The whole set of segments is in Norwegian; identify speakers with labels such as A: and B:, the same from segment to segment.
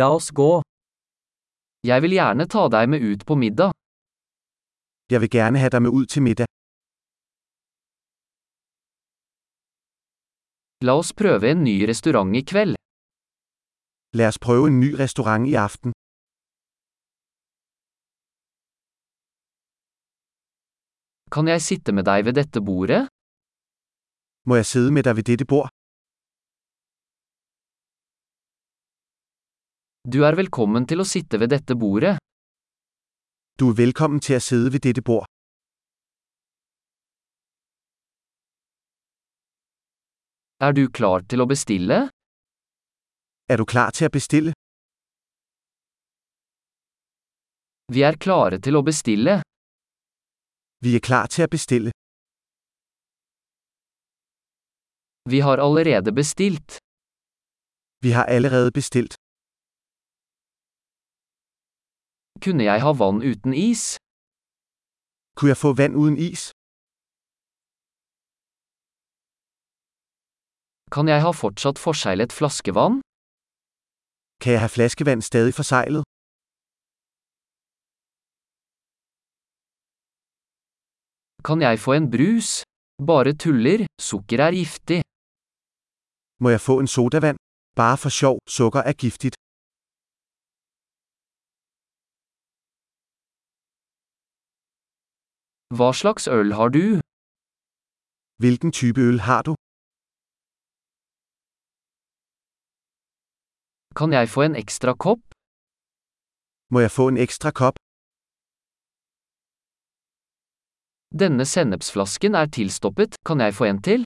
A: La oss gå. Jeg vil gjerne ta deg med ut på middag.
B: Jeg vil gerne have dig med ud til middag.
A: La oss prøve en ny restaurant i kveld.
B: Lad os prøve en ny restaurant i aften.
A: Kan jeg sitte med deg ved dette bordet?
B: Må jeg sidde med dig ved dette bord?
A: Du er velkommen til å sitte ved dette bordet.
B: Du er velkommen til at sidde ved dette bord.
A: Er du klar til å bestille?
B: Er du klar til at bestille?
A: Vi er klare til å bestille.
B: Vi er klar til at bestille.
A: Vi har allerede bestilt.
B: Vi har allerede bestilt.
A: Kunne jeg ha vann uten is?
B: Kunne jeg få vand uden is?
A: Kan jeg ha fortsatt forseglet flaskevann?
B: Kan jeg have flaskevand stadig forseglet?
A: Kan jeg få en brus? Bare tuller, sukker er giftig.
B: Må jeg få en sodavand? Bare for sjov, sukker er giftigt.
A: Hva slags øl har du?
B: Hvilken type øl har du?
A: Kan jeg få en ekstra kopp?
B: Må jeg få en ekstra kop?
A: Denne sennepsflasken er tilstoppet, kan jeg få en til?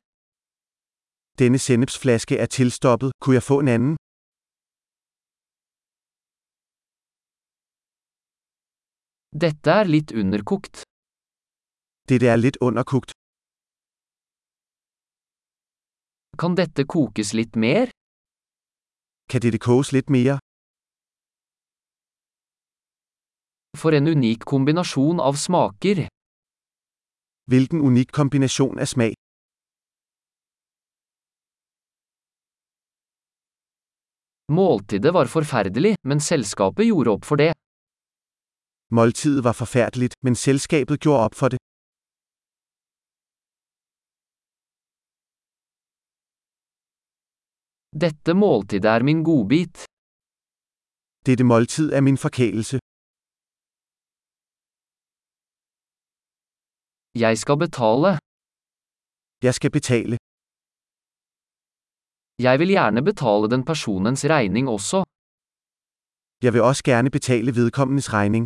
B: Denne sennepsflaske er tilstoppet. Kunne jeg få en anden?
A: Dette er litt underkokt.
B: Dette er lidt underkogt.
A: Kan dette kokes litt mer?
B: Kan dette koges lidt mere?
A: For en unik kombinasjon av smaker.
B: Hvilken unik kombination af smag.
A: Måltidet var forferdelig, men selskapet gjorde opp for det.
B: Måltidet var forfærdeligt, men selskabet gjorde op for det.
A: Dette måltidet er min godbit.
B: Dette måltid er min forkælelse.
A: Jeg skal betale.
B: Jeg skal betale.
A: Jeg vil gjerne betale den personens regning også.
B: Jeg vil også gerne betale vedkommendes regning.